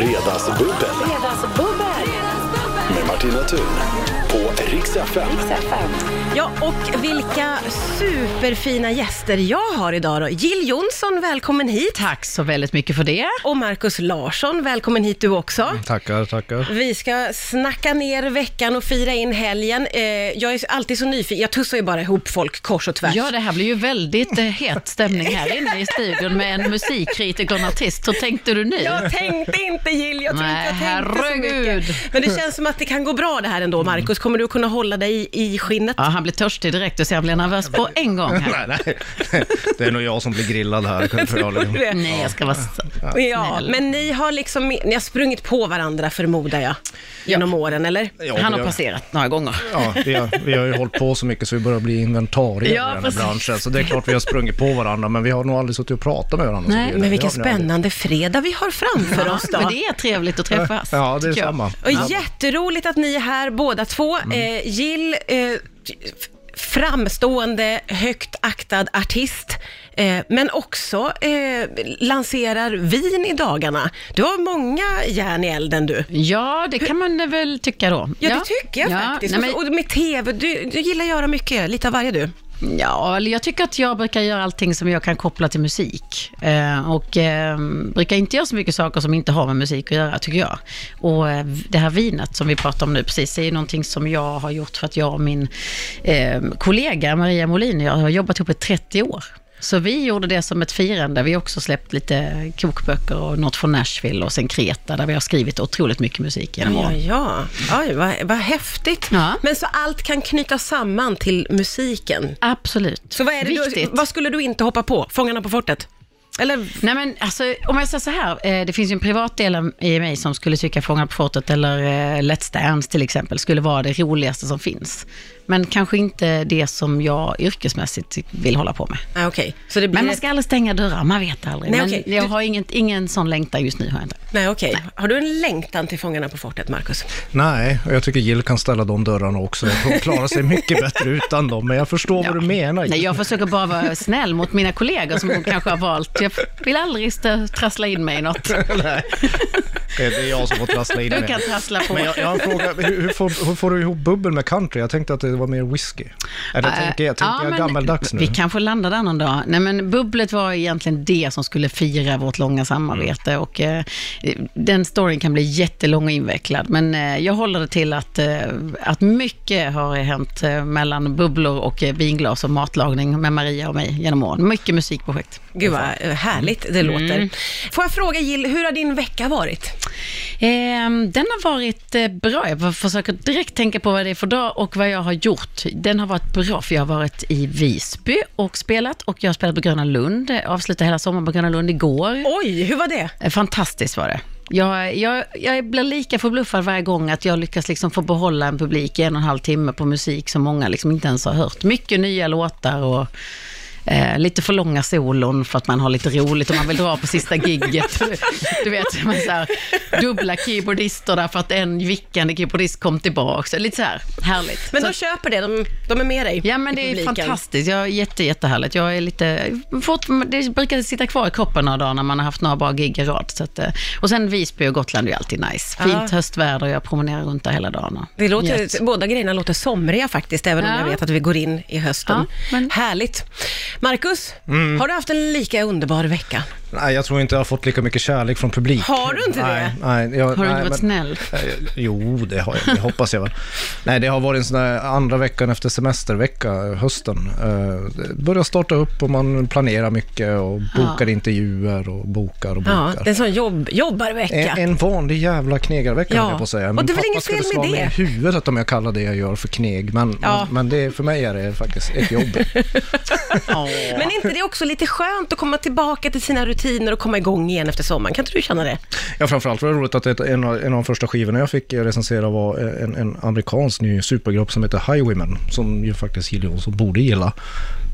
Fredagsbubbel Fredagsbubbel! med Martina Thun på Rix FM. Ja, och vilka superfina gäster jag har idag då. Jill Johnson, välkommen hit. Tack så väldigt mycket för det. Och Markus Larsson, välkommen hit du också. Mm, Tackar, tackar. Vi ska snacka ner veckan och fira in helgen. Eh, jag är alltid så nyfiken, jag tussar ju bara ihop folk kors och tvärs. Ja, det här blir ju väldigt eh, het stämning här inne i studion med en musikkritiker och en artist. Hur tänkte du nu? Jag tänkte inte Jill, jag tror Nej, inte jag tänkte så herregud. Mm. mycket. Men det känns som att det kan gå bra det här ändå, Markus. Kommer du kunna hålla dig i skinnet? Ja, han blir törstig direkt och så jag blir nervös på en gång här. Nej, nej. Det är nog jag som blir grillad här, förmodligen. Nej, jag ska vara så Mm. Ja, snäll. men ni har liksom, ni har sprungit på varandra förmodar jag, genom åren eller? Ja, Han vi har passerat några gånger. Ja, vi har, vi har ju hållit på så mycket så vi börjar bli Ja, inventarier i den här precis. branschen. Så det är klart vi har sprungit på varandra, men vi har nog aldrig suttit och pratat med varandra. Nej, så det är det. Men vilken Det har vi aldrig. spännande fredag vi har framför oss då. Men det är trevligt att träffas. Ja, det är tycker jag. samma. Och jätteroligt att ni är här båda två. Mm. Eh, Jill, eh, f- framstående, högt aktad artist, eh, men också eh, lanserar vin i dagarna. Du har många järn i elden du. Ja, det kan man väl tycka då. Ja, det tycker jag faktiskt. Nej, men, Och med TV, du, du gillar att göra mycket, lite av varje du. Ja, eller jag tycker att jag brukar göra allting som jag kan koppla till musik. Eh, och eh, brukar inte göra så mycket saker som inte har med musik att göra, tycker jag. Och eh, det här vinet som vi pratar om nu precis, det är ju någonting som jag har gjort för att jag och min eh, kollega Maria Molin, jag har jobbat ihop i 30 år. Så vi gjorde det som ett firande. Vi har också släppt lite kokböcker och något från Nashville och sen Kreta där vi har skrivit otroligt mycket musik genom Ja, åren. ja. Oj, vad, vad häftigt. Ja. Men så allt kan knytas samman till musiken. Absolut. Så vad, är det du, Viktigt. vad skulle du inte hoppa på? Fångarna på fortet? Eller Nej men alltså, om jag säger så här, eh, det finns ju en privat del E i mig som skulle tycka Fångarna på fortet eller eh, Let's Dance till exempel skulle vara det roligaste som finns. Men kanske inte det som jag yrkesmässigt vill hålla på med. Nej, okej. Så det blir... Men man ska aldrig stänga dörrar, man vet aldrig. Nej, men okej. jag Du- har inget, ingen sån längtan just nu. Har jag inte. Nej, okej. Har du en längtan till Fångarna på fortet, Markus? Nej, och jag tycker Jill kan ställa de dörrarna också. Hon klarar sig mycket bättre utan dem, men jag förstår vad du menar. Nej, Jill. jag försöker bara vara snäll mot mina kollegor som kanske har valt. Jag vill aldrig stä- trassla in mig i något. Nej. Det är jag som får trassla in Du mig. kan trassla på. Men jag, jag har en fråga, hur, hur, får, hur får du ihop bubbel med country? Jag tänkte att det var mer whisky. Eller Eh, tänker jag, tänker ja, jag men gammeldags nu? Vi kanske landar där någon dag. Nej, men bubblet var egentligen det som skulle fira vårt Mm. långa samarbete och eh, den storyn kan bli jättelång och invecklad. Men eh, jag håller det till att, eh, att mycket har hänt eh, mellan bubblor och eh, vinglas och matlagning med Maria och mig genom åren. Mycket musikprojekt. Gud vad eh, härligt det låter. Mm. Får jag fråga Jill, hur har din vecka varit? Ehm, den har varit eh, bra. Jag försöker direkt tänka på vad det är för dag och vad jag har gjort. Den har varit bra för jag har varit i Visby och spelat och jag har spelat på Gröna Lund. Jag Avslutade hela sommaren på Gröna Lund igår. Oj, hur var det? Eh, Fantastiskt var det. Jag, jag, jag blir lika förbluffad varje gång att jag lyckas liksom få behålla en publik i en och en halv timme på musik som många liksom inte ens har hört. Mycket nya låtar och eh, lite för långa solon för att man har lite roligt och man vill dra på sista gigget. Du vet, man så här, dubbla keyboardister där för att en vickande keyboardist kom tillbaka. Lite så här, härligt. Men Så de köper det, de, de är med dig Ja men i det är publiken. fantastiskt, jag är jätte, jättehärligt. Jag är lite, fort, det brukar sitta kvar i kroppen några dagar när man har haft några bra gig i rad. Så att, eh, och sen Visby och Gotland är ju alltid nice. Fint Ja. höstväder och jag promenerar runt där hela dagen. och Det låter, njöt. Båda grejerna låter somriga faktiskt, även om Ja. jag vet att vi går in i hösten. Ja, men- Härligt. Markus, Mm. har du haft en lika underbar vecka? Nej, jag tror inte jag har fått lika mycket kärlek från publik. Har du inte nej, det? Nej, jag, Har du nej, inte varit snäll? Nej, Jo, det har jag. Det hoppas jag väl. Nej, det har varit en sån där andra veckan efter semestervecka, hösten. Eh, det Börjar starta upp och man planerar mycket och bokar intervjuer och bokar och Ja, bokar. det är en sån jobb, jobbarvecka. En, en vanlig jävla knegarvecka Ja. höll jag på att säga. Och Min det är väl pappa inget skulle fel slå med mig det? i huvudet om jag kallar det jag gör för kneg. Men, Ja. men, men det, för mig är det faktiskt ett jobb. Men är inte det också lite skönt att komma tillbaka till sina rutiner och komma igång igen efter sommaren? Kan inte du känna det? Ja, framförallt var det roligt att ett, en, av, en av de första skivorna jag fick recensera var en, en amerikansk ny supergrupp som heter Highwaymen, som ju faktiskt Jill Johnson borde gilla,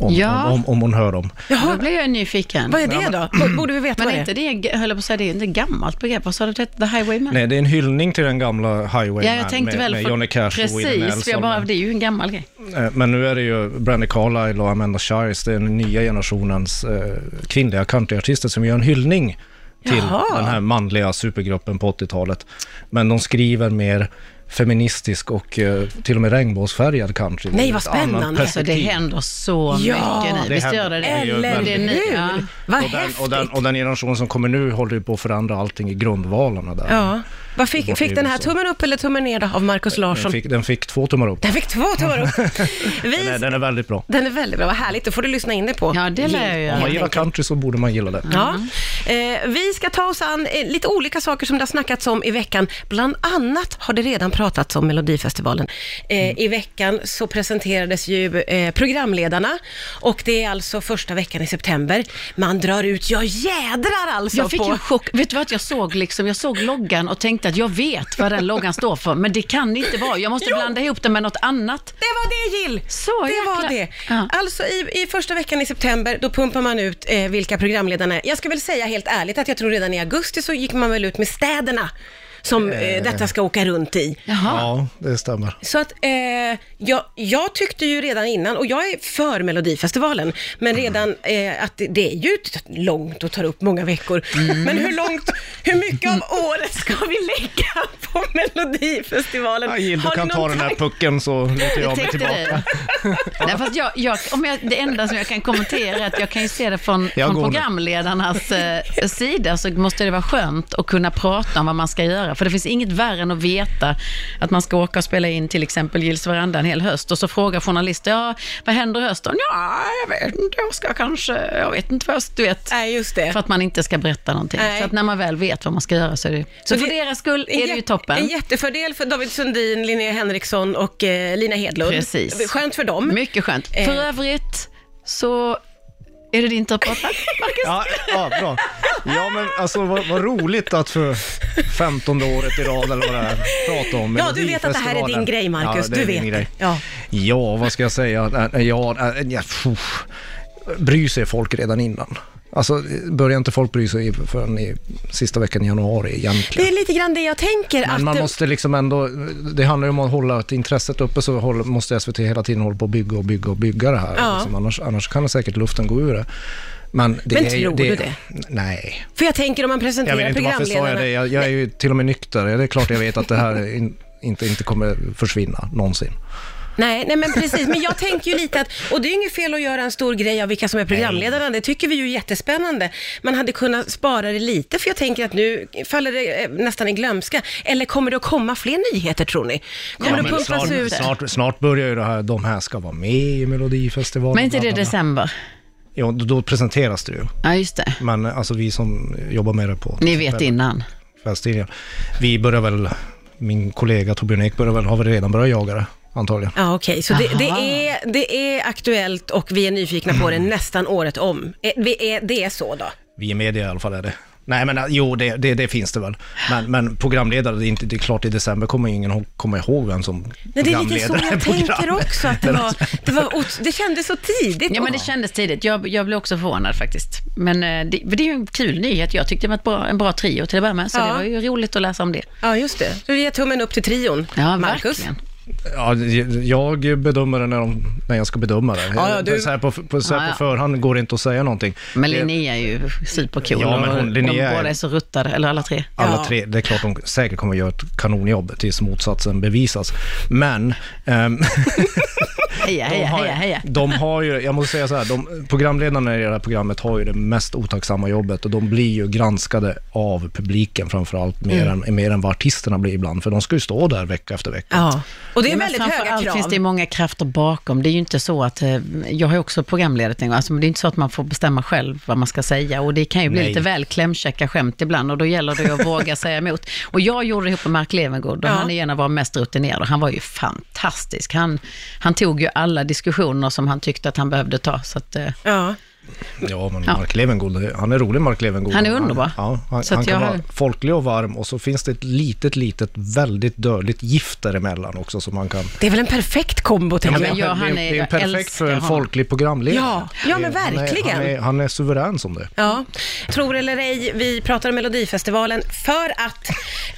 om, Ja. om, om, om hon hör dem. Då blir jag nyfiken. Vad är det då? Borde vi veta Men vad är det är? inte det, jag höll jag på att säga, det är inte ett gammalt begrepp. Vad sa du? Det- The Highwayman? Nej, det är en hyllning till den gamla Highwaymen Ja, jag tänkte med, väl med för- Johnny Cash och Willie Precis, för Nelson. jag bara, det är ju en gammal grej. Eh, Men nu är det ju Brandy Carlisle och Amanda Shires, det är den nya generationens eh, kvinnliga countryartister som gör en hyllning till Jaha. den här manliga supergruppen på 80-talet. Men de skriver mer feministisk och eh, till och med regnbågsfärgad country. Nej, Ett vad spännande. Alltså, annat Så perspektiv. Alltså, det händer så Ja, mycket nu. det Visst händer. gör det det? Det gör Eller väldigt mycket. hur? Ja. Vad Och den, häftigt. och, den, och den generation som kommer nu håller ju på att förändra allting i grundvalarna där. Ja. Vad fick, Bort fick i den här USA. tummen upp eller tummen ner då, av Markus Den Larsson? fick, den fick två tummar upp. Den fick två tummar upp. Den är, Vi, den är väldigt bra. den är väldigt bra, vad härligt. Då får du lyssna in dig på. Ja, det lär jag ju. Om man gillar enkelt. country så borde man gilla det. Ja. Mm. Eh, vi ska ta oss an eh, lite olika saker som det har snackats om i veckan. Bland annat har det redan pratats om Melodifestivalen. Eh, Mm. I veckan så presenterades ju eh, programledarna och det är alltså första veckan i september. Man drar ut, ja jädrar alltså! Jag fick på... ju chock. Vet du vad jag såg liksom? Jag såg loggan och tänkte att jag vet vad den loggan står för, men det kan inte vara. Jag måste blanda ihop den med något annat. Det var det Jill! Så det var jäkla- det. Ja. Alltså i, i första veckan i september, då pumpar man ut eh, vilka programledarna är. Jag ska väl säga helt ärligt att jag tror redan i augusti så gick man väl ut med städerna som eh, detta ska åka runt i. Jaha. Ja, det stämmer. Så att eh, jag, jag tyckte ju redan innan, och jag är för Melodifestivalen, Mm. men redan eh, att det, det är ju t- långt och tar upp många veckor. Mm. Men hur långt, hur mycket av året ska vi lägga på Melodifestivalen? Ja, Jill, du Har kan någon ta den här tanke? pucken så låter jag mig Tänkte tillbaka. du? Nej, fast jag, jag, om jag, det enda som jag kan kommentera är att jag kan ju se det från, Jag från går nu. programledarnas eh, sida, så måste det vara skönt att kunna prata om vad man ska göra. För det finns inget värre än att veta att man ska åka och spela in till exempel Gills veranda en hel höst och så frågar journalister, ja, vad händer i hösten? Ja, jag vet inte, jag ska kanske, jag vet inte vad jag, du vet. Nej, just det. För att man inte ska berätta någonting. Nej. Så att när man väl vet vad man ska göra så är det Så, Så för det- deras skull en är det ju jä- toppen. En jättefördel för David Sundin, Linnea Henriksson och eh, Lina Hedlund. Precis. Skönt för dem. Mycket skönt. Eh. För övrigt så är det din tur att prata. Marcus? Ja, ja, bra. Ja, men alltså vad, vad roligt att för femtonde året i rad eller vad det är, prata om Ja, du vet att det här är din Melodifestivalen. grej, Marcus. Ja, det du är vet min grej. det. Ja. Ja, vad ska jag säga? Ä- ä- Ja, ä- ja, pff. bryr sig folk redan innan? Alltså, börjar inte folk bry sig i- förrän i sista veckan i januari Det egentligen? är lite grann det jag tänker. att Men man det- måste liksom ändå, det handlar ju om att hålla att intresset uppe, så håller, måste SVT hela tiden hålla på och bygga och bygga och bygga det här. Ja. Liksom, annars, annars kan säkert luften gå ur det. Men, det Men är ju- tror du det? Nej, För jag tänker om man jag presenterar vet inte varför sa jag programledarna. det. Jag, jag är ju till och med nykter. Det är klart jag vet att det här in, inte, inte kommer försvinna någonsin. Nej, nej men precis. Men jag tänker ju lite att, och det är ju inget fel att göra en stor grej av vilka som är programledarna. Det tycker vi ju är jättespännande. Man hade kunnat spara det lite, för jag tänker att nu faller det eh, nästan i glömska. Eller kommer det att komma fler nyheter, tror ni? Kommer det men pumpas snart, ut? snart, snart börjar ju det här, de här ska vara med i Melodifestivalen. Men inte det bla, i bla, bla. december? Ja, då, då presenteras det ju. Ja, just det. Men eh, alltså vi som jobbar med det på Ni vet innan. kvällstidningar, vi börjar väl, min kollega Torbjörn Ek börjar väl, har väl redan börjat jaga det, antagligen. Ja, okej. Så det, det, Aha. Mm. är, det är aktuellt och vi är nyfikna på det nästan året om. Eh, Vi är, det är så då? Vi i media i alla fall är det. Nej men eh, jo, det, det, det finns det väl. Men, men programledare, det är, inte, det är klart i december kommer ju ingen ihå- komma ihåg vem som Nej, det är lite så programleder jag programmet. tänker också, att det, var, det, var, ot- det kändes så tidigt. Ja, men det kändes tidigt. Jag, jag blev också förvånad faktiskt. Men eh, det, men det är ju en kul nyhet. Jag tyckte det var ett bra, en bra trio till att börja med, så Ja. det var ju roligt att läsa om det. Ja, just det. Så vi ger tummen upp till trion, Ja, Marcus. verkligen. Ja, jag bedömer det när, de, när jag ska bedöma det. Ja, ja, du- Så här på, på, så här Ja, ja. på förhand går det inte att säga någonting. Men Det- Linnea är ju supercool. Ja, men och hon- Linnea De är- båda är så ruttade, eller alla tre. Alla Ja. tre, det är klart de säkert kommer att göra ett kanonjobb tills motsatsen bevisas. Men... ehm, Heja, heja, har, heja, heja. de har ju, jag måste säga så här, de, programledarna i det här programmet har ju det mest otacksamma jobbet och de blir ju granskade av publiken framförallt, mer, Mm. än, mer än vad artisterna blir ibland, för de ska ju stå där vecka efter vecka. Ja. Och det är Ja, men väldigt framför höga allt krav. finns det ju många krafter bakom. Det är ju inte så att, eh, jag har ju också programledat en gång, alltså, men det är inte så att man får bestämma själv vad man ska säga och det kan ju bli Nej. lite väl klämkäcka skämt ibland och då gäller det ju att våga säga emot. Och jag gjorde det ihop med Mark Levengood och Ja. han är en av våra mest rutinerade och han var ju fantastisk. Han, han tog ju alla diskussioner som han tyckte att han behövde ta. Så att, eh, Ja. Ja, men Mark Levengood, han är rolig Mark Levengood. Han är underbar. Ja, han, Så att han kan jag har- vara folklig och varm och så finns det ett litet, litet, väldigt dödligt gift däremellan också som man kan... Det är väl en perfekt kombo, tänker men jag. det, jag- är, han är- det är jag perfekt älskar för en honom. folklig programledare. Ja, ja, men Det är- han är- verkligen. Han är, han är suverän som det. Ja. Tror eller ej, vi pratar om Melodifestivalen för att...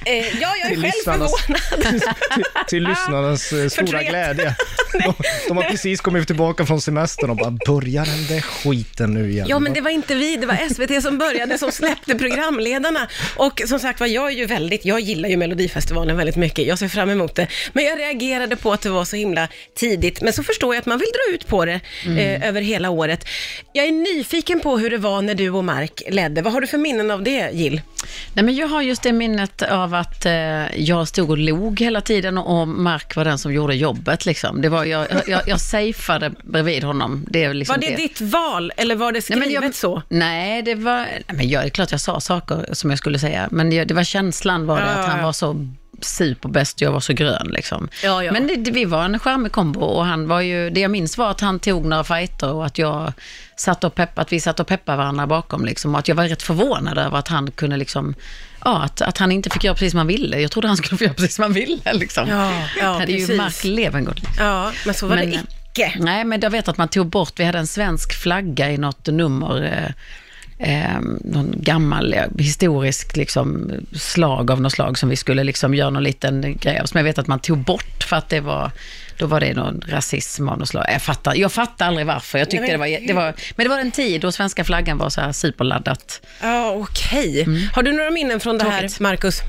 Eh, ja, jag är själv Lyssnarnas- förvånad. Till lyssnarnas eh, stora Förtret. glädje. De, de har precis kommit tillbaka från semestern och bara, börjar den där skiten nu igen? Ja, men det var inte vi, det var SVT som började, som släppte programledarna. Och som sagt var, jag är ju väldigt, jag gillar ju Melodifestivalen väldigt mycket, jag ser fram emot det. Men jag reagerade på att det var så himla tidigt, men så förstår jag att man vill dra ut på det eh, över hela året. Jag är nyfiken på hur det var när du och Mark ledde. Vad har du för minnen av det, Jill? Nej, men jag har just det minnet av att eh, jag stod och log hela tiden och Mark var den som gjorde jobbet. Liksom. Det var, jag, jag, jag safeade bredvid honom. Det är liksom Var det ditt val, eller var det skrivet jag, så? Nej, det var... Nej, men jag, det är klart jag sa saker som jag skulle säga, men jag, det var känslan var det, Ja, att han ja. var så superbäst och jag var så grön. Liksom. Ja, ja. Men det, det, vi var en charmig kombo och han var ju... Det jag minns var att han tog några fighter och att jag satt och pepp, att vi satt och peppade varandra bakom. Liksom, och att jag var rätt förvånad över att han kunde liksom... Ja, att, att han inte fick göra precis som han ville. Jag trodde han skulle få göra precis som han ville. Liksom. Ja, ja, det är ju precis. Mark Levengood. Liksom. Ja, men mm. så var Men, det eh, icke. Nej, men jag vet att man tog bort, vi hade en svensk flagga i något nummer, eh, eh, någon gammal eh, historisk liksom, slag av något slag som vi skulle liksom göra någon liten grej av, som jag vet att man tog bort för att det var, då var det någon rasism av något slag. Jag fattar, jag fattar aldrig varför, jag tyckte Nej, det men var, det var, men det var en tid då svenska flaggan var så här superladdat. Ja, okej. Har du några minnen från det här, Tråkigt. Marcus?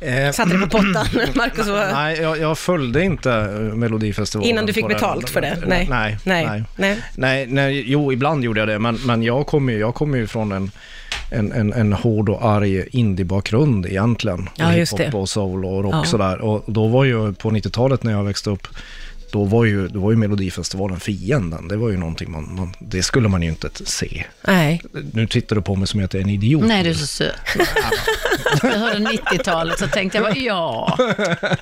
Eh, Satte dig på pottan, Marcus? Var... Nej, jag, jag följde inte eh, Melodifestivalen. Innan du fick på den. betalt för det? Nej. Nej, nej. Nej. Nej. Nej, nej, jo, ibland gjorde jag det, men, men jag kommer ju, jag kom ju från en, en, en, en hård och arg indiebakgrund egentligen. Ja, och just hiphop det. och soul och rock Ja. sådär. Och då var ju på 90-talet när jag växte upp, då var ju, då var ju Melodifestivalen fienden. Det var ju någonting man, man, det skulle man ju inte t- se. Nej. Nu tittar du på mig som att jag är en idiot. Nej, du är så söt. jag hörde 90-talet så tänkte jag bara, ja,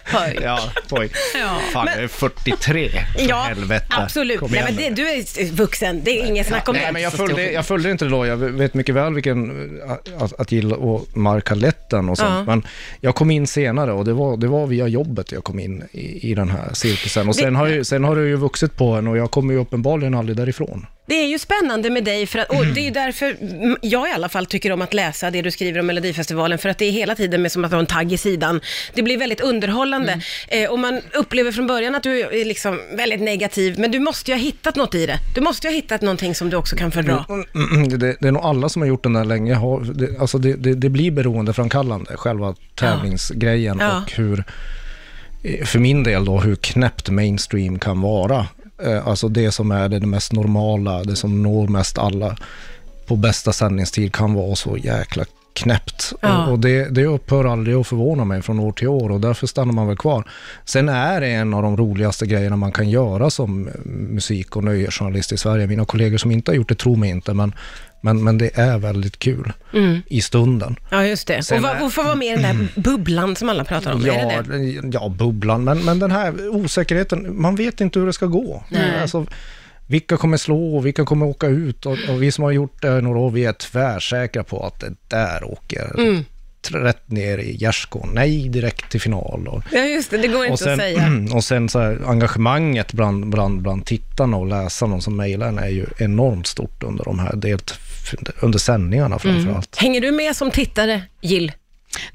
höj. Ja, pojk. Ja. Fan, jag är 43. För Ja, helvete. absolut. Kom Nej, igen men nu. det, du är vuxen, det är inget snack om Nej, det. men jag så stor följde, skillnad. jag följde inte det då. Jag vet mycket väl vilken, eh, att, att Jill och Mark har lett den och sånt. Ja. Men jag kom in senare och det var, det var via jobbet jag kom in i, i den här cirkusen. Och sen har, ju, sen har det ju vuxit på en och jag kommer ju uppenbarligen aldrig därifrån. Det är ju spännande med dig, för att, och det är ju därför mm, jag i alla fall tycker om att läsa det du skriver om Melodifestivalen, för att det är hela tiden med som att ha en tagg i sidan. Det blir väldigt underhållande. Mm. Eh, och man upplever från början att du är liksom väldigt negativ, men du måste ju ha hittat något i det. Du måste ju ha hittat någonting som du också kan Mm. fördra. Det, det är nog alla som har gjort den där länge. Har, det, alltså det, det, det blir beroendeframkallande, själva tävlingsgrejen Ja. och hur, eh, för min del då, hur knäppt mainstream kan vara. Eh, Alltså det som är det mest normala, det som når mest alla på bästa sändningstid kan vara så jäkla knäppt. Ja. Och, och det, det upphör aldrig att förvåna mig från år till år och därför stannar man väl kvar. Sen är det en av de roligaste grejerna man kan göra som eh, musik och nöjesjournalist i Sverige. Mina kollegor som inte har gjort det tror mig inte, men, men, men det är väldigt kul i stunden. Ja, just det. Sen och va, är- och få vara med i den där bubblan som alla pratar om. är det det? Ja, ja, bubblan, men, men den här osäkerheten, man vet inte hur det ska gå. Alltså, vilka kommer slå och vilka kommer åka ut? Och, och vi som har gjort det några år, vi är tvärsäkra på att det där åker rätt ner i gärdsgården. Nej, direkt till final. Och, Ja, just det. Det går inte och sen, att säga. och sen så här, engagemanget bland, bland, bland tittarna och läsarna som mejlar är ju enormt stort under de här delt, under sändningarna framför allt. Hänger du med som tittare, Jill?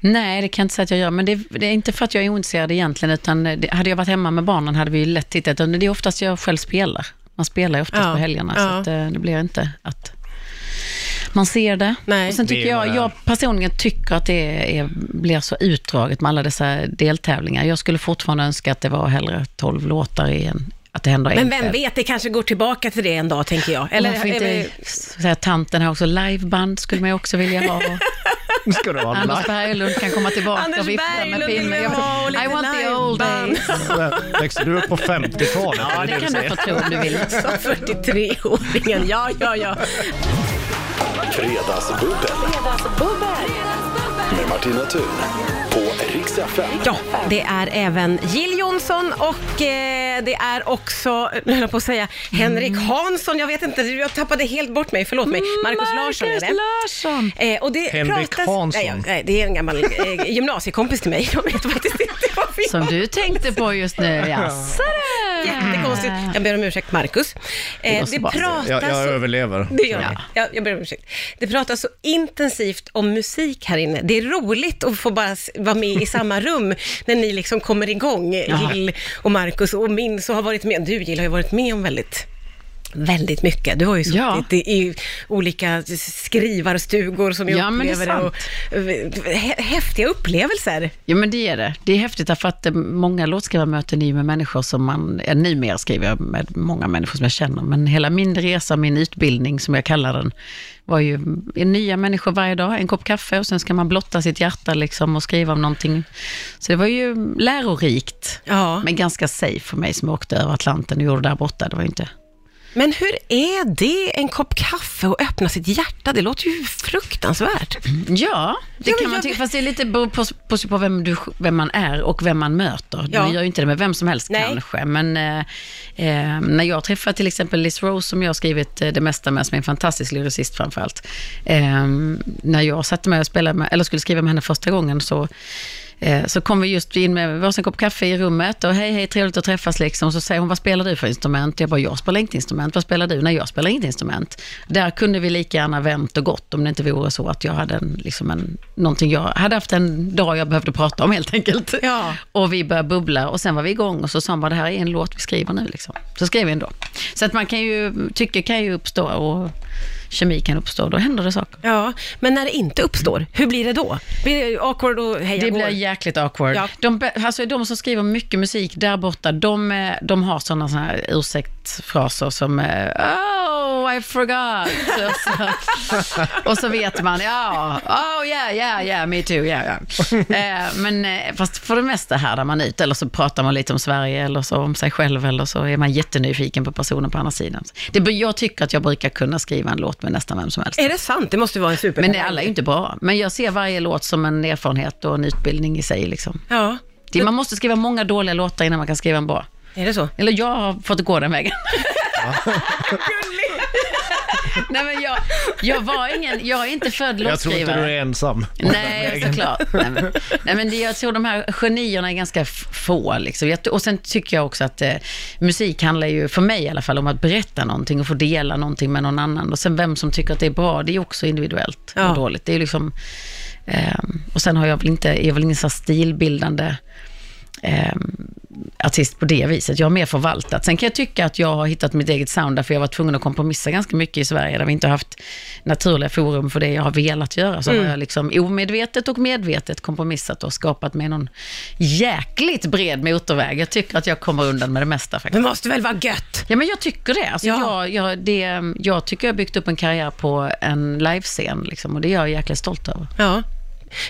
Nej, det kan jag inte säga att jag gör, men det, det är inte för att jag är ointresserad egentligen, utan det, hade jag varit hemma med barnen hade vi ju lätt tittat. Och Det är oftast jag själv spelar. Man spelar ju oftast Ja, på helgerna, ja. så att, eh, det blir inte att man ser det. Nej. Och sen Det är tycker vad jag, det är. jag personligen tycker att det är, blir så utdraget med alla dessa deltävlingar. Jag skulle fortfarande önska att det var hellre 12 låtar i en, att det händer Men en vem tävling. vet, det kanske går tillbaka till det en dag, tänker jag. Eller Eller, Varför inte eller- säga tanten här också, liveband skulle man ju också vilja ha. Och- Nu ska det vara Anders Berglund kan komma tillbaka Anders och vifta med Berglund vill pinnen. vi Jag- ha och lite I want the old liveband. days. Växte du upp på 50-talet? Ja, det kan du få tro om du vill. Sa 43-åringen, liksom ja, ja, ja. Fredagsbubbel med Martina Thun på Rix FM. Ja, det är även Jill Johnson och eh, det är också, nu höll jag på att säga, Henrik Hansson. Jag vet inte, jag tappade helt bort mig, förlåt mig. Mm, Marcus Larsson är det. Larsson. Eh, och det Henrik pratas, Hansson. Nej, jag- nej, det är en gammal eh, gymnasiekompis till mig. Jag vet faktiskt inte vad vi Som du tänkte på just nu, jaså du. jättekonstigt. Jag ber om ursäkt, Marcus. Eh, var det Sebastian. pratas... Jag, jag överlever. Det gör Ja. det. Jag, jag ber om ursäkt. Det pratas så intensivt om musik här inne. Det är roligt att få bara s- vara med i samma rum när ni liksom kommer igång, Ja. Jill och Markus och min som har varit med. Du Jill har ju varit med om väldigt Väldigt mycket. Du har ju suttit Ja. i, i olika skrivarstugor som jag Ja, men det är upplever och hä- häftiga upplevelser. Ja, men det är det. Det är häftigt därför att eh, många låtskrivarmöten är ju med människor som man, ja, numera skriver jag med många människor som jag känner, men hela min resa, min utbildning som jag kallar den, var ju mm, nya människor varje dag, en kopp kaffe och sen ska man blotta sitt hjärta liksom och skriva om någonting. Så det var ju lärorikt, Ja. men ganska safe för mig som åkte över Atlanten och gjorde det där borta. Det var ju inte... Men hur är det, en kopp kaffe och öppna sitt hjärta? Det låter ju fruktansvärt. Ja, det Ja, men kan man jag- tycka, fast det är lite beror på, på, på vem, du, vem man är och vem man möter. Ja. Man gör ju inte det med vem som helst Nej. kanske, men eh, eh, när jag träffar till exempel Liz Rose, som jag har skrivit eh, det mesta med, som är en fantastisk lyricist framför allt. Eh, när jag satte mig och spelade med, eller skulle skriva med henne första gången så eh, så kom vi just in med varsin kopp kaffe i rummet och hej, hej, trevligt att träffas liksom. Så säger hon, vad spelar du för instrument? Jag bara, jag spelar inte instrument. Vad spelar du? Nej, jag spelar inte instrument. Där kunde vi lika gärna vänt och gått om det inte vore så att jag hade en, liksom en, någonting jag hade haft en dag jag behövde prata om helt enkelt. Ja. Och vi började bubbla och sen var vi igång och så sa hon bara, det här är en låt vi skriver nu liksom. Så skrev vi ändå. Så att man kan ju, tycke kan ju uppstå och kemi kan uppstå, då händer det saker. Ja, men när det inte uppstår, hur blir det då? Blir det awkward och heja Det blir går? jäkligt awkward. Ja. De, be- alltså, de som skriver mycket musik där borta, de, eh, de har sådana såna här ursäktfraser som eh, Oh, I forgot. och, så, och så vet man, ja, oh yeah, yeah, yeah, me too, yeah, yeah. Eh, men eh, fast för det mesta härdar man ut, eller så pratar man lite om Sverige, eller så om sig själv, eller så är man jättenyfiken på personen på andra sidan. Det, br- jag tycker att jag brukar kunna skriva en låt med nästan vem som helst. Är det sant? Det måste ju vara en super... Men det- alla är ju inte bra. Men jag ser varje låt som en erfarenhet och en utbildning i sig. Liksom. Ja, Det, man måste skriva många dåliga låtar innan man kan skriva en bra. är det så? Eller jag har fått gå den vägen. Nej, men jag, jag, var ingen, jag är inte född Jag tror inte du låtskrivare. är ensam. Nej, såklart. Nej, men, nej, men det, jag tror de här genierna är ganska f- få. Liksom. Jag, och sen tycker jag också att eh, musik handlar ju, för mig i alla fall, om att berätta någonting och få dela någonting med någon annan. Och sen vem som tycker att det är bra, det är ju också individuellt Ja. och dåligt. Det är ju liksom, ehm, och sen har jag väl inte, är väl ingen så här stilbildande ehm, artist på det viset. Jag har mer förvaltat. Sen kan jag tycka att jag har hittat mitt eget sound, därför jag var tvungen att kompromissa ganska mycket i Sverige, där vi inte har haft naturliga forum för det jag har velat göra. Så Mm. har jag liksom omedvetet och medvetet kompromissat och skapat mig någon jäkligt bred motorväg. Jag tycker att jag kommer undan med det mesta faktiskt. Det måste väl vara gött? Ja, men jag tycker det. Alltså, Ja. jag, jag, det. Jag tycker jag har byggt upp en karriär på en livescen, liksom, och det är jag jäkligt stolt över. Ja.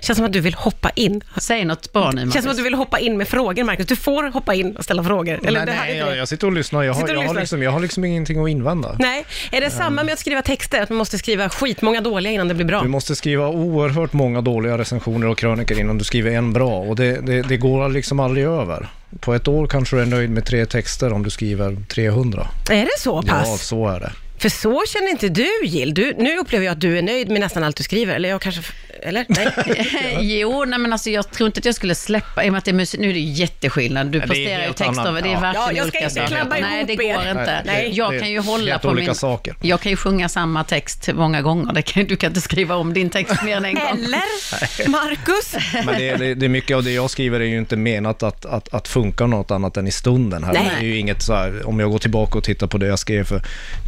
Känns som att du vill hoppa in. Säg något bra nu, Känns som att Marcus. du vill hoppa in med frågor, Markus. Du får hoppa in och ställa frågor. Eller nej, det hade nej, inte jag, du. jag sitter och lyssnar. Jag har, Sitter och jag har, lyssnar. liksom, jag har liksom ingenting att invända. Nej, är det samma med att skriva texter? Att man måste skriva skitmånga dåliga innan det blir bra? Du måste skriva oerhört många dåliga recensioner och kröniker innan du skriver en bra. Och det, det, det går liksom aldrig över. På ett år kanske du är nöjd med tre texter om du skriver 300. Är det så pass? Ja, så är det. För så känner inte du, Jill. Du, nu upplever jag att du är nöjd med nästan allt du skriver. Eller jag kanske... Eller? Nej. Jo, nej, men alltså, jag tror inte att jag skulle släppa, i och med att det är musik, nu är det ju jätteskillnad, du det är presterar ju helt texter, annan- men det är ja. verkligen Ja, jag ska olika inte saker. klabba Nej, det ihop går er. inte. Nej, det- det jag är kan ju hålla helt på olika min... saker. Jag kan ju sjunga samma text många gånger, det kan, du kan inte skriva om din text mer än en gång. Eller? Markus? Men det, det, det är mycket av det jag skriver är ju inte menat att, att, att funka något annat än i stunden. Här. Nej. Det är ju inget så här, om jag går tillbaka och tittar på det jag skrev för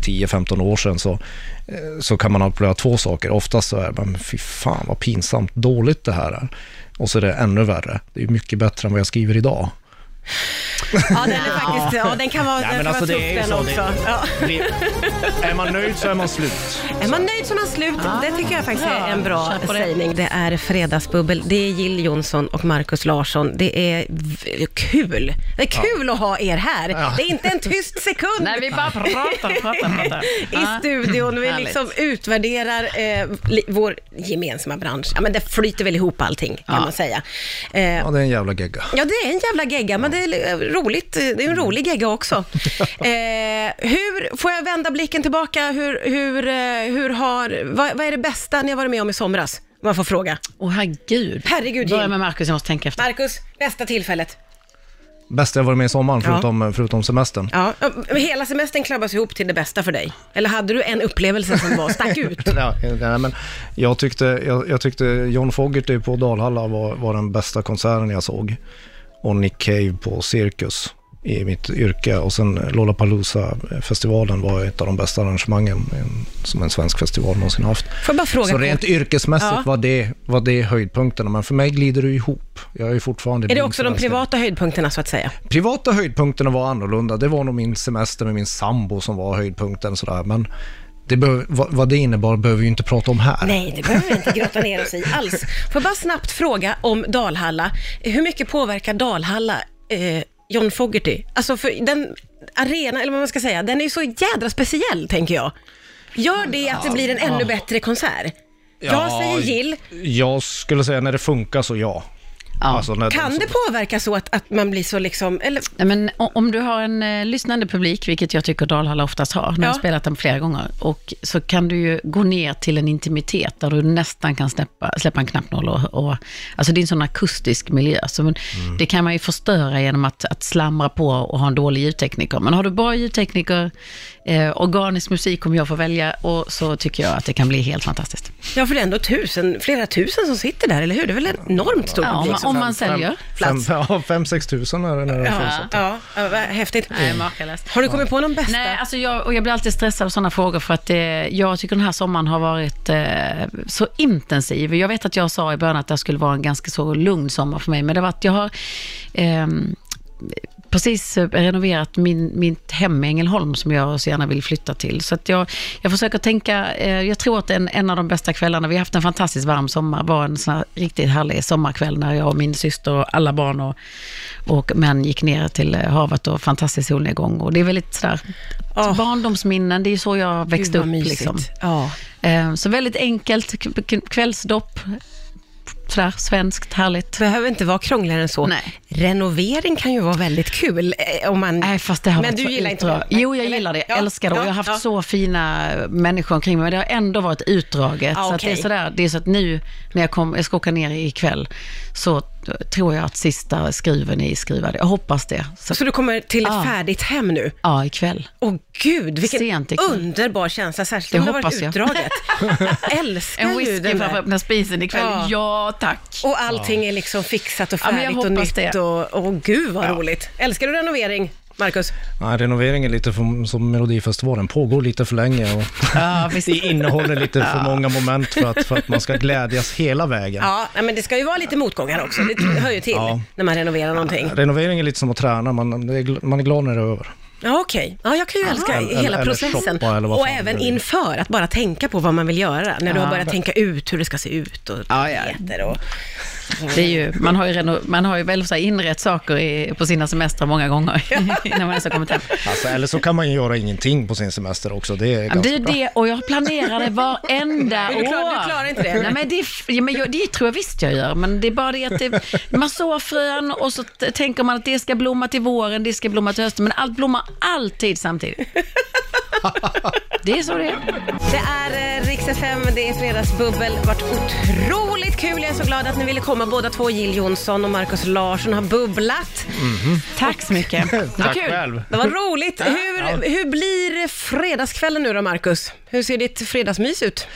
10-15 år sedan så, eh, så kan man uppleva två saker. Oftast så är man, fy fan vad pinsamt dåligt det här är. Och så är det ännu värre. Det är ju mycket bättre än vad jag skriver idag. Ja, den är faktiskt... Ja, den kan vara... Nej, den men kan alltså, vara det är ju tuff, så. den Det- också. Ja. är man nöjd så är man slut. Är man nöjd så är man slut. det tycker jag faktiskt är en bra Kör på det. sägning. Det är Fredagsbubbel. Det är Jill Johnson och Markus Larsson. Det är v- kul. Det är kul att ha er här. Det är inte en tyst sekund. Nej, vi bara pratar, pratar, pratar. i studion. Vi Härligt. liksom utvärderar eh, li- vår gemensamma bransch. Ja, men det flyter väl ihop allting, kan man säga. Eh, Ja, det är en jävla gegga. Ja, det är en jävla gegga, men det är eh, roligt. Det Mm. är en rolig gegga också. Eh, hur, får jag vända blicken tillbaka? Hur, hur, eh, hur har, vad, vad är det bästa ni har varit med om i somras? Om man får fråga. Åh herregud. Herregud, Börja Jill. med Marcus, jag måste tänka efter. Marcus, bästa tillfället? bästa jag varit med i sommaren, förutom, förutom semestern. Ja, eh, men hela semestern klabbas ihop till det bästa för dig. Eller hade du en upplevelse som var stack ut? Ja, nej, men jag, tyckte, jag, jag tyckte John Fogerty på Dalhalla var, var den bästa konserten jag såg. Och Nick Cave på Cirkus i mitt yrke. Och sen Lollapalooza-festivalen var ett av de bästa arrangemangen en, som en svensk festival någonsin haft. Får jag bara fråga Så kort? rent yrkesmässigt Ja. var, det, var det höjdpunkterna, men för mig glider det ihop. Jag är ju fortfarande Är det blind också de förälskad. privata höjdpunkterna så att säga? Privata höjdpunkterna var annorlunda. Det var nog min semester med min sambo som var höjdpunkten. Sådär. Men det behöv, vad, vad det innebar behöver vi ju inte prata om här. Nej, det behöver vi inte grotta ner oss i alls. Får jag bara snabbt fråga om Dalhalla. Hur mycket påverkar Dalhalla eh, John Fogerty? Alltså, för den arena, eller vad man ska säga, den är ju så jädra speciell, tänker jag. Gör det att det blir en ännu bättre konsert? Jag säger Jill. Jag skulle säga när det funkar så ja. Alltså, när Kan de- det påverka så att, att man blir så liksom, eller Nej, Men o- om du har en eh, lyssnande publik, vilket jag tycker Dalhalla oftast har, när jag Ja. har spelat den flera gånger, och så kan du ju gå ner till en intimitet där du nästan kan släppa, släppa en knappnål. Och, och, alltså det är en sån akustisk miljö. Så men Det kan man ju förstöra genom att, att slamra på och ha en dålig ljudtekniker. Men har du bra ljudtekniker, eh, organisk musik om jag får välja, och så tycker jag att det kan bli helt fantastiskt. Ja, för det är ändå tusen, flera tusen som sitter där, eller hur? Det är väl en enormt stor Ja, om publik? man- som- liksom om man säljer. Fem, fem, ja, fem, sex tusen är det när det finns. Ja, ja, ja, vad häftigt. Nej, makalöst. Har du kommit på någon bästa? Nej, alltså jag, och jag blir alltid stressad av sådana frågor för att eh, jag tycker den här sommaren har varit eh, så intensiv. Jag vet att jag sa i början att det skulle vara en ganska så lugn sommar för mig, men det var att jag har ehm, precis eh, renoverat min, mitt hem i Ängelholm som jag så gärna vill flytta till. Så att jag, jag försöker tänka, eh, jag tror att en, en av de bästa kvällarna, vi har haft en fantastiskt varm sommar, var en sån här riktigt härlig sommarkväll när jag och min syster och alla barn och, och män gick ner till eh, havet och fantastisk solnedgång. Och det är väldigt sådär, Åh. barndomsminnen, det är ju så jag växte Gud, vad upp. mysigt. Liksom. Ja. Eh, Så väldigt enkelt, k- k- kvällsdopp, sådär svenskt, härligt. Behöver inte vara krångligare än så. Nej. Renovering kan ju vara väldigt kul. eh, Om man... Nej, fast det har Men varit du så gillar inte utdrag- det? Jo, jag Eller? gillar det. Jag Ja, älskar det. ja, och jag har haft ja. så fina människor omkring mig. Men det har ändå varit utdraget. Ja, så att det, är Ah, okej. sådär, det är så att nu när jag, kom, jag ska åka ner ikväll så t- tror jag att sista skruven är skruvad. Jag hoppas det. Så, Så du kommer till ett Ja. färdigt hem nu? ja, ikväll. Åh gud, vilken Sent ikväll. underbar känsla, särskilt Det om det har varit hoppas jag. utdraget. Älskar En ju whisky den för att där. öppna spisen ikväll. Ja. Ja, tack. Och allting är liksom fixat och Ja, men färdigt jag och hoppas nytt. det. Och, och gud vad roligt. Älskar du renovering, Marcus? Nej, renoveringen lite för, som Melodifestivalen, pågår lite för länge och Ja, visst. det innehåller lite för många moment för att, för att man ska glädjas hela vägen. Ja, nej, men det ska ju vara lite motgångar också. Det hör ju till Ja. när man renoverar någonting. Renovering är lite som att träna, man, det är gl- man är glad när det är över. Ja, okej. Ja, jag kan ju älska Eller- hela eller processen. shoppa eller vad och fan även det är. inför, att bara tänka på vad man vill göra. När du har börjat tänka ut hur det ska se ut och Ja, ja. dieter och... Det är ju, man, har ju reno, man har ju väl så här inrett saker i, på sina semestrar många gånger innan man ens har kommit hem. Alltså, eller så kan man ju göra ingenting på sin semester också. Det är Ja, men ganska Det är bra. det och jag planerar det varenda Men du klarar- år. du klarar inte det? Nej, men det, är f- ja, men jag, det tror jag visst jag gör, men det är bara det att det, man sår frön och så t- tänker man att det ska blomma till våren, det ska blomma till hösten, men allt blommar alltid samtidigt. Det är så det är. Det är eh, Rix FM, det är Fredagsbubbel. Det har varit otroligt kul. Jag är så glad att ni ville komma båda två. Jill Johnson och Markus Larsson har bubblat. Tack så mycket. Det var Tack kul. själv. Det var roligt. Hur, hur blir fredagskvällen nu då, Markus? Hur ser ditt fredagsmys ut?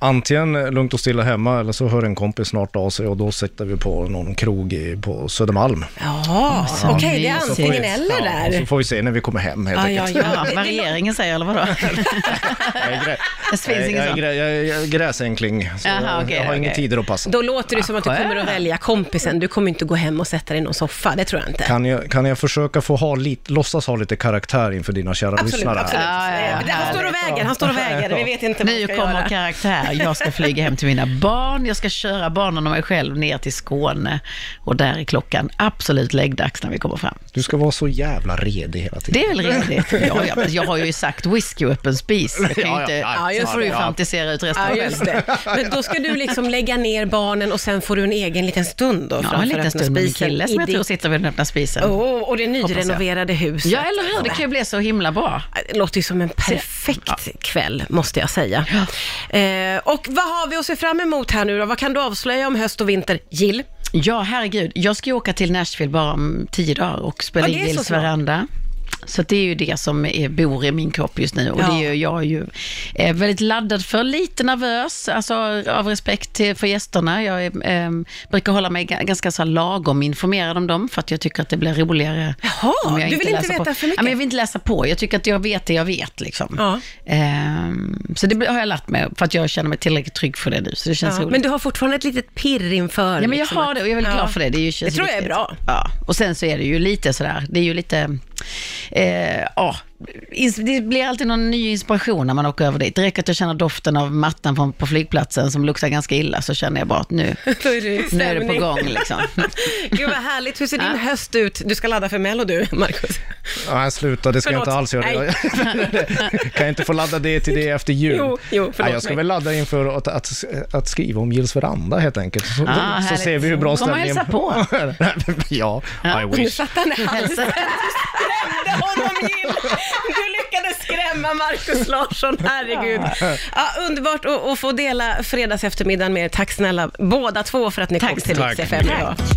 Antingen lugnt och stilla hemma eller så hör en kompis snart av sig och då sitter vi på någon krog i, på Södermalm. Ja, okej, det är mysigt. antingen eller Ja, och så där. får vi se när vi kommer hem helt Ja, enkelt. ja, Ja, ja. vad regeringen säger eller vadå? Jag är, grä... Det finns jag, är- inget jag, är sånt. grä... jag är- jag är gräsänkling, så Jaha, jag- okej, jag har okej. inga tider att passa. Då låter det som att du kommer att välja kompisen. Du kommer inte gå hem och sätta dig i någon soffa, det tror jag inte. Kan jag, kan jag försöka få ha lite, låtsas ha lite karaktär inför dina kära Absolut, lyssnare? absolut. Ja, ja, ja. Det- Han står och väger, han står och väger. Vi vet inte vad vi Nu ska kommer göra. karaktär. Jag ska flyga hem till mina barn, jag ska köra barnen och mig själv ner till Skåne. Och där är klockan absolut läggdags när vi kommer fram. Du ska vara så jävla redig hela tiden. Det är väl rimligt? Ja, ja, men jag har ju sagt whisky och öppen spis. Jag kan Ja, ju ja, inte, ja, så just får du ju det. fantisera ut resten Ja, själv. just det. Men då ska du liksom lägga ner barnen och sen får du en egen liten stund då Ja, framför en liten öppna stund med en spisen kille i som jag ditt- tror sitter vid den öppna spisen. Åh, och det nyrenoverade huset. Ja, eller hur? Det kan ju bli så himla bra. Det låter ju som en perfekt kväll, måste jag säga. Eh, och vad har vi att se fram emot här nu då? Vad kan du avslöja om höst och vinter? Jill? Ja, herregud. Jag ska ju åka till Nashville bara om tio dagar och spela Ja, in det är så Gills snart. veranda. Så det är ju det som är, bor i min kropp just nu och Ja. det är ju- jag är ju eh, väldigt laddad för, lite nervös, alltså av respekt till, för gästerna. Jag är, ehm, brukar hålla mig ga- ganska så här lagom informerad om dem för att jag tycker att det blir roligare Jaha, om du vill inte läser veta på. för mycket? Ja, men jag vill inte läsa på, jag tycker att jag vet det jag vet liksom. Ja. Ehm, så det har jag lärt mig för att jag känner mig tillräckligt trygg för det nu, så det känns Ja, roligt. men du har fortfarande ett litet pirr inför. Ja, men jag liksom har att- det och jag är väldigt Ja. glad för det. Det, är ju, känns tror jag är viktigt. bra. Ja. Och sen så är det ju lite sådär, det är ju lite, eh, ja, ins- det blir alltid någon ny inspiration när man åker över dit. Det räcker att jag känner doften av mattan på, på flygplatsen som luktar ganska illa så känner jag bara att nu, Då är det i nu är det på stämning. gång liksom. Gud vad härligt. Hur ser din höst ut? Du ska ladda för Mello du, Markus. Nej, sluta, det ska jag inte Förlåt. alls göra. Nej. kan jag inte få ladda det till det efter jul? Jo, jo, förlåt Nej, jag ska mig. väl ladda inför att, att, att skriva om Gills veranda helt enkelt. Så, Ah, så härligt. ser vi hur bra Kom och stämningen... hälsa på. ja, Nu I wish. satt han i halsen. Du skrämde honom Jill. Du lyckades skrämma Markus Larsson, herregud. Ja, underbart att, att få dela fredags eftermiddagen med er. Tack snälla båda två för att ni Tack kom så till mycket. Rix FM idag.